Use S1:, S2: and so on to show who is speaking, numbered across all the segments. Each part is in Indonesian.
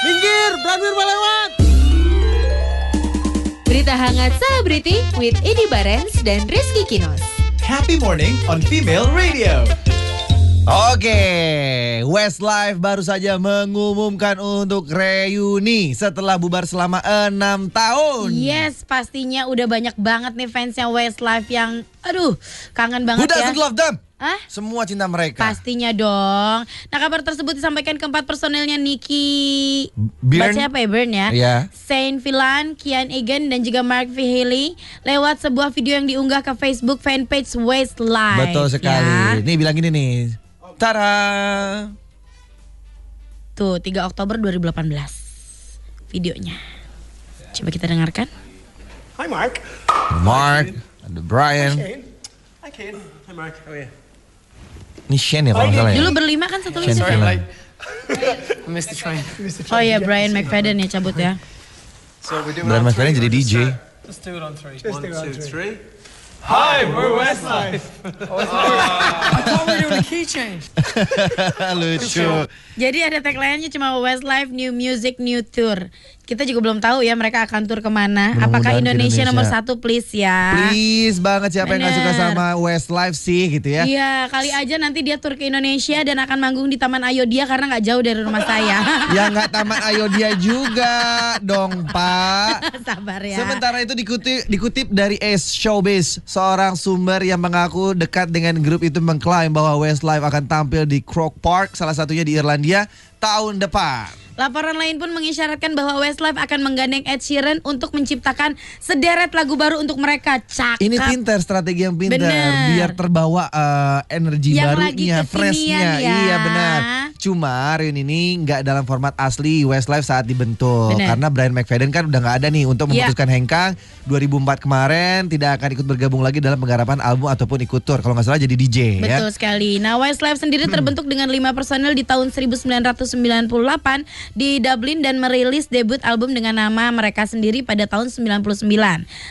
S1: Minggir, Branwir mau lewat.
S2: Berita hangat selebriti with Edi Barens dan Rizky Kinos.
S3: Happy morning on Female Radio.
S4: Oke, Westlife baru saja mengumumkan untuk reuni setelah bubar selama enam tahun.
S5: Yes, pastinya udah banyak banget nih fansnya Westlife yang aduh, kangen
S4: Who
S5: banget ya.
S4: doesn't love them?
S5: Hah?
S4: Semua cinta mereka.
S5: Pastinya dong. Nah, kabar tersebut disampaikan keempat personelnya Nicky
S4: Byrne.
S5: Baca apa ya Byrne ya?
S4: Iya.
S5: Saint Villan, Kian Egan dan juga Mark Vihili lewat sebuah video yang diunggah ke Facebook fanpage Westlife.
S4: Betul sekali.
S5: ya.
S4: Nih bilang gini nih. Tara.
S5: Tuh, 3 Oktober 2018 videonya. Coba kita dengarkan.
S1: Hi Mark.
S4: Mark, ada Brian.
S1: Kane. Hi Kane. Hi Mark. How are you?
S4: Ini Shane ya kalau nggak salah ya.
S5: Dulu berlima kan satu
S4: Shane
S5: lucu.
S4: Villan.
S6: like- I missed the train.
S5: Oh iya, Brian McFadden ya cabut ya.
S6: So we do it
S4: Brian
S6: on
S4: McFadden jadi
S6: three, or just
S4: DJ.
S6: start? Let's do it on three. One,
S1: do it on
S6: two,
S1: three.
S6: three. Hi, we're Westlife. I thought we were doing a key change.
S4: Lucu.
S5: Jadi ada tagline-nya cuma Westlife New Music New Tour. Kita juga belum tahu ya mereka akan tur kemana.
S4: Mudah-mudahan
S5: Apakah
S4: ke
S5: Indonesia,
S4: Indonesia.
S5: nomor satu please ya?
S4: Please banget siapa yang gak suka
S5: Bener.
S4: sama Westlife sih gitu ya.
S5: Iya, kali aja nanti dia tur ke Indonesia dan akan manggung di Taman Ayodhya karena nggak jauh dari rumah saya.
S4: Ya nggak taman Ayodhya juga dong pak.
S5: Sabar ya.
S4: Sementara itu dikutip, dikutip dari Ace Showbiz, seorang sumber yang mengaku dekat dengan grup itu mengklaim bahwa Westlife akan tampil di Croke Park, salah satunya di Irlandia, tahun depan.
S5: Laporan lain pun mengisyaratkan bahwa Westlife akan menggandeng Ed Sheeran untuk menciptakan sederet lagu baru untuk mereka. Cakep.
S4: Ini pintar, strategi yang pintar,
S5: Bener.
S4: biar terbawa eh, energi
S5: Yang lagi
S4: barunya,
S5: kekinian
S4: freshnya.
S5: ya.
S4: Iya benar. Cuma reuni ini nggak dalam format asli Westlife saat dibentuk,
S5: Bener.
S4: karena Brian McFadden kan udah nggak ada nih untuk
S5: Iya.
S4: memutuskan hengkang 2004 kemarin tidak akan ikut bergabung lagi dalam penggarapan album ataupun ikut tour kalau nggak salah jadi DJ ya.
S5: Betul sekali. Nah, Westlife sendiri
S4: Hmm.
S5: terbentuk dengan lima personel di tahun 1998 di Dublin dan merilis debut album dengan nama mereka sendiri pada tahun 99.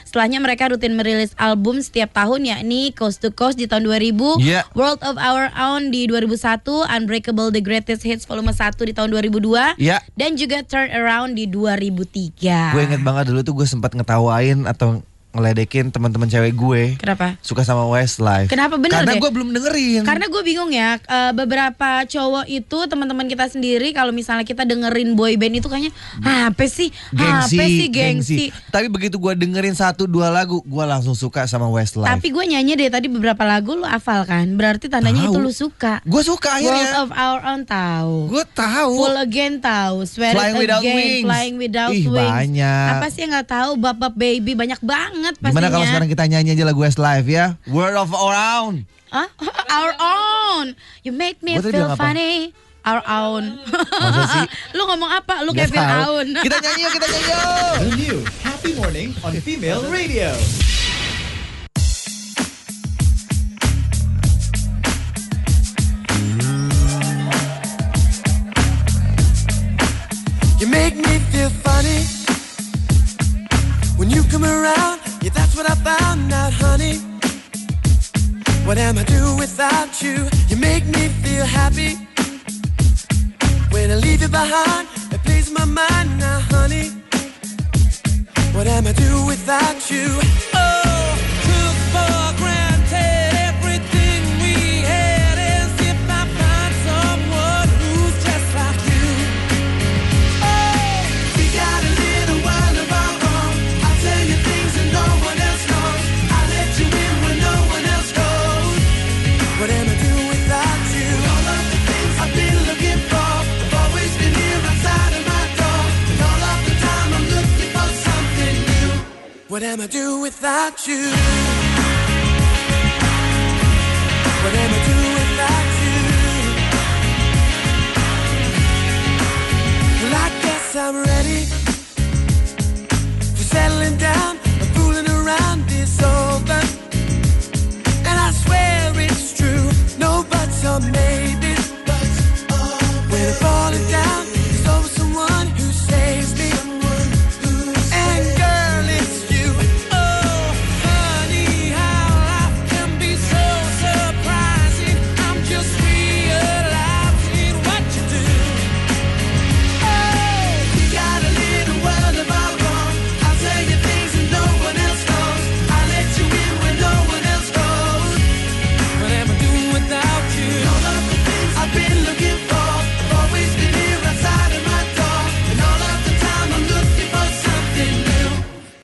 S5: Setelahnya mereka rutin merilis album setiap tahun yakni Coast to Coast di tahun 2000,
S4: Iya.
S5: World of Our Own di 2001, Unbreakable The Greatest Hits Volume 1 di tahun 2002,
S4: Iya.
S5: dan juga Turn Around di 2003.
S4: Gue inget banget dulu tuh gue sempat ngetawain atau ngeledekin teman-teman cewek gue
S5: Kenapa?
S4: suka sama Westlife.
S5: Kenapa? Bener
S4: Karena
S5: deh.
S4: gue belum dengerin.
S5: Karena gue bingung ya, eh, beberapa cowok itu teman-teman kita sendiri kalau misalnya kita dengerin boy band itu kayaknya "Ah, apa sih? Ah,
S4: Hmm. gengsi,
S5: apa sih gengsi?
S4: Tapi begitu gue dengerin satu dua lagu, gue langsung suka sama Westlife.
S5: Tapi gue nyanyi deh tadi beberapa lagu lu hafal kan? Berarti tandanya itu
S4: Tahu.
S5: lu suka.
S4: gue suka
S5: World
S4: akhirnya.
S5: of Our Own tahu.
S4: Gue tahu.
S5: Full Again tahu, Swear
S4: Flying
S5: It
S4: Without
S5: Again,
S4: Wings.
S5: Flying Without
S4: Ih,
S5: Wings.
S4: banyak.
S5: Apa sih yang nggak tahu? Bap Bap Baby banyak banget pastinya.
S4: Gimana kalau sekarang kita nyanyi aja lagu Westlife ya? World of Around.
S5: Hah? Our own. You make
S4: Gua
S5: me
S4: tadi
S5: feel
S4: bilang apa?
S5: funny. Our own.
S4: Masa sih?
S5: Lu ngomong apa? Lu
S4: Nggak
S5: kayak
S4: tahu.
S5: Fir'aun.
S4: Kita nyanyi yuk, kita nyanyi yuk.
S3: The new Happy Morning on Female Radio.
S7: You make me feel funny when you come around. Yeah, that's what I found out, honey. What am I do without you? You make me feel happy when I leave you behind. It plays my mind now, honey. What am I do without you? Oh, took for granted everything we had. As if I find someone who's just like you. We got a little world of our own. I tell you things that no one else knows. I let you in when no one else goes. What am I doing without you? All of the things I've been looking for have always been here outside of my door. And all of the time I'm looking for something new. What am I doing without you? What am I doing without you? Well, I guess I'm ready Oh,